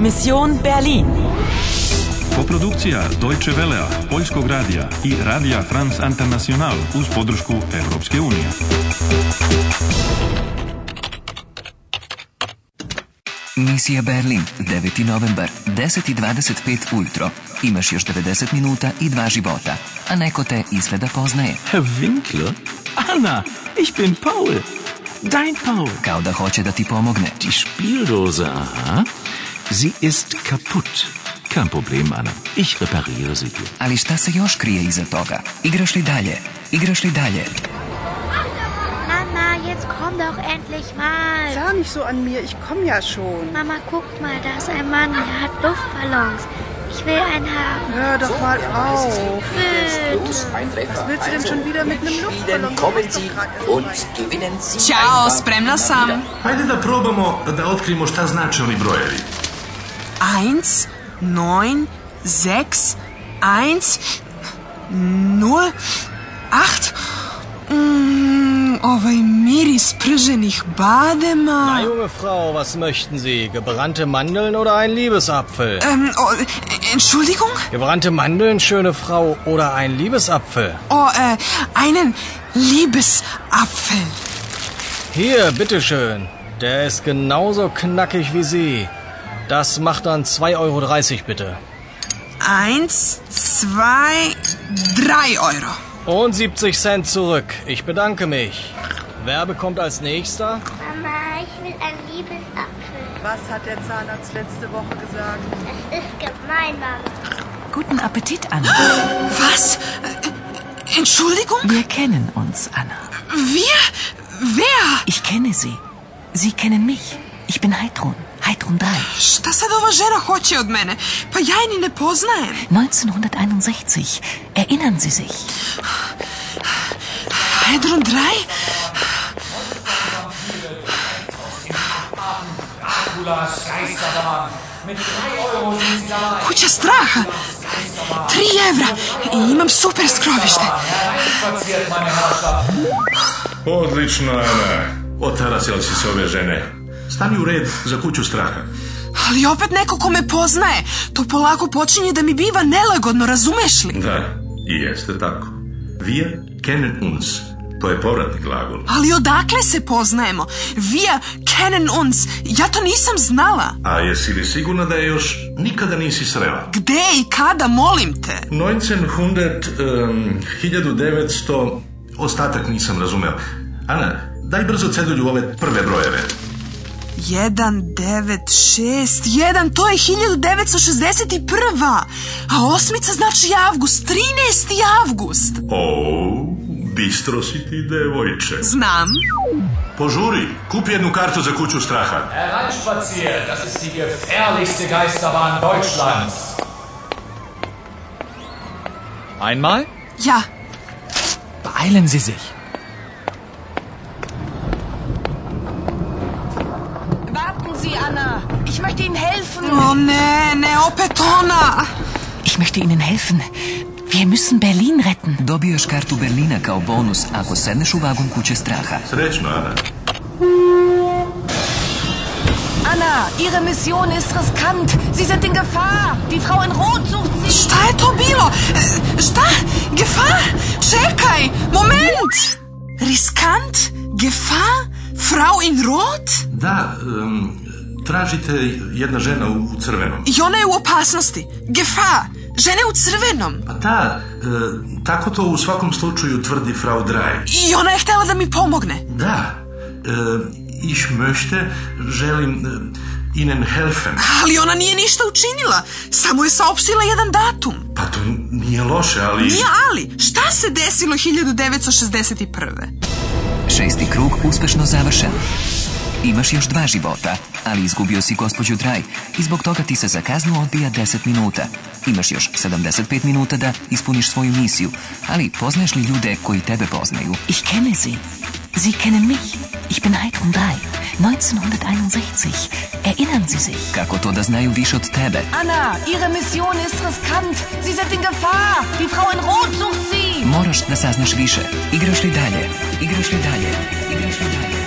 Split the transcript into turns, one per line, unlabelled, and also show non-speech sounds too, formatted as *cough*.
Mission Berlin.
Koprodukcija Deutsche Velea, Poljskog radija i Radija France International uz podršku Europske unije.
Misija Berlin, 9. novembar, 10.25 ujutro. Imaš još 90 minuta i dva života, a neko te izgleda poznaje,
Herr Winkler? Anna, ich bin Paul. Dein Paul.
kao da hoće da ti pomogne.
Die Spieldose, aha. Sie ist kaputt. Kein Problem, Anna. Ich repariere sie dir.
Ali šta se još krije iza toga? Igraš li dalje? Igraš li dalje?
Mama, jetzt komm doch endlich mal.
Sah nicht so an mir, ich komme ja schon.
Mama, guck mal, da ist ein Mann, der hat Luftballons. Ich will einen haben.
Hör doch mal auf.
Bitte.
Was willst du denn schon wieder mit einem Luftballon? Kommen Sie und
Ćao, spremna sam.
Hajde da probamo da otkrijemo šta znače oni brojevi.
1, 9, 6, 1, 0, 8. Mm, ovaj miris prženih badema.
Junge Frau, was möchten Sie? Gebrannte Mandeln oder ein Liebesapfel?
Ähm, oh, Entschuldigung?
Gebrannte Mandeln, schöne Frau, oder ein Liebesapfel?
Oh, äh, einen Liebesapfel.
Hier, bitteschön. Der ist genauso knackig wie Sie. Das macht dann 2,30 Euro bitte.
Eins, zwei, drei Euro.
Und 70 Cent zurück. Ich bedanke mich. Wer bekommt als nächster?
Mama, ich will einen Liebesapfel.
Was hat der Zahnarzt letzte Woche gesagt?
Das ist gemein, Mama.
Guten Appetit, Anna.
*gasps* Was? Äh, Entschuldigung?
Wir kennen uns, Anna.
Wir? Wer?
Ich kenne Sie. Sie kennen mich. Ich bin Heidrun. Heidrun 3.
Šta sad ova žena hoće od mene? Pa ja je ni ne poznajem.
1961. Erinnern Sie sich?
Pedro Draj? Kuća straha. Tri evra i imam super skrovište.
Odlično, Ana.
Otarasila si se ove žene. Stavi u red za kuću straha.
Ali opet neko ko me poznaje. To polako počinje da mi biva nelagodno, razumeš li?
Da, i jeste tako. Wir kennen uns. To je povratni glagol.
Ali odakle se poznajemo? Via kennen uns. Ja to nisam znala.
A jesi li sigurna da je još nikada nisi srela?
Gde i kada, molim te?
1900, em, 1900, ostatak nisam razumeo. Ana, daj brzo cedulju ove prve brojeve.
1961, to je 1961. A osmica znači avgust, 13. avgust.
O, bistro si ti, devojče.
Znam.
Požuri, kupi jednu kartu za kuću straha.
Hereinspaziert, das ist die gefährlichste Geisterbahn Deutschlands. Einmal?
Ja,
Beeilen Sie sich.
Warten Sie, Anna. Ich möchte Ihnen helfen. Oh, ne, ne, opet ona.
Ich möchte Ihnen helfen. Wir müssen Berlin retten.
Dobijaš kartu Berlina kao bonus ako sedneš u vagon kuće straha.
Srećno, Ana.
Anna, Ihre Mission ist riskant. Sie sind in Gefahr. Die Frau in Rot sucht Sie.
Šta je to bilo? E, Šta? Gefa? Čekaj, moment. Riskant? Gefa? Frau in Rot?
Da, em, tražite jedna žena u, u crvenom.
I ona je u opasnosti. Gefa, žene u crvenom.
Pa da, e, tako to u svakom slučaju tvrdi Frau Drey.
I ona je htjela da mi pomogne.
Da, e, ich möchte, želim e, Ihnen helfen.
Ali ona nije ništa učinila. Samo je saopštila jedan datum.
Pa to nije loše, ali...
Nije ali, šta se desilo 1961.
Šesti krug uspešno završen. Imaš još dva života, ali izgubio si gospođu Draj i zbog toga ti se za kaznu odbija 10 minuta. Imaš još 75 minuta da ispuniš svoju misiju, ali poznaješ li ljude koji tebe poznaju?
Ich kenne Sie. Sie kennen mich. Ich bin Heidrun 3. 1961. Erinnern Sie sich?
Kako to da znaju više od tebe?
Anna, Ihre Mission ist riskant. Sie sind in Gefahr. Die Frau in Rot sucht Sie.
Moraš da saznaš više. Igraš li dalje? Igraš li dalje? Igraš li dalje?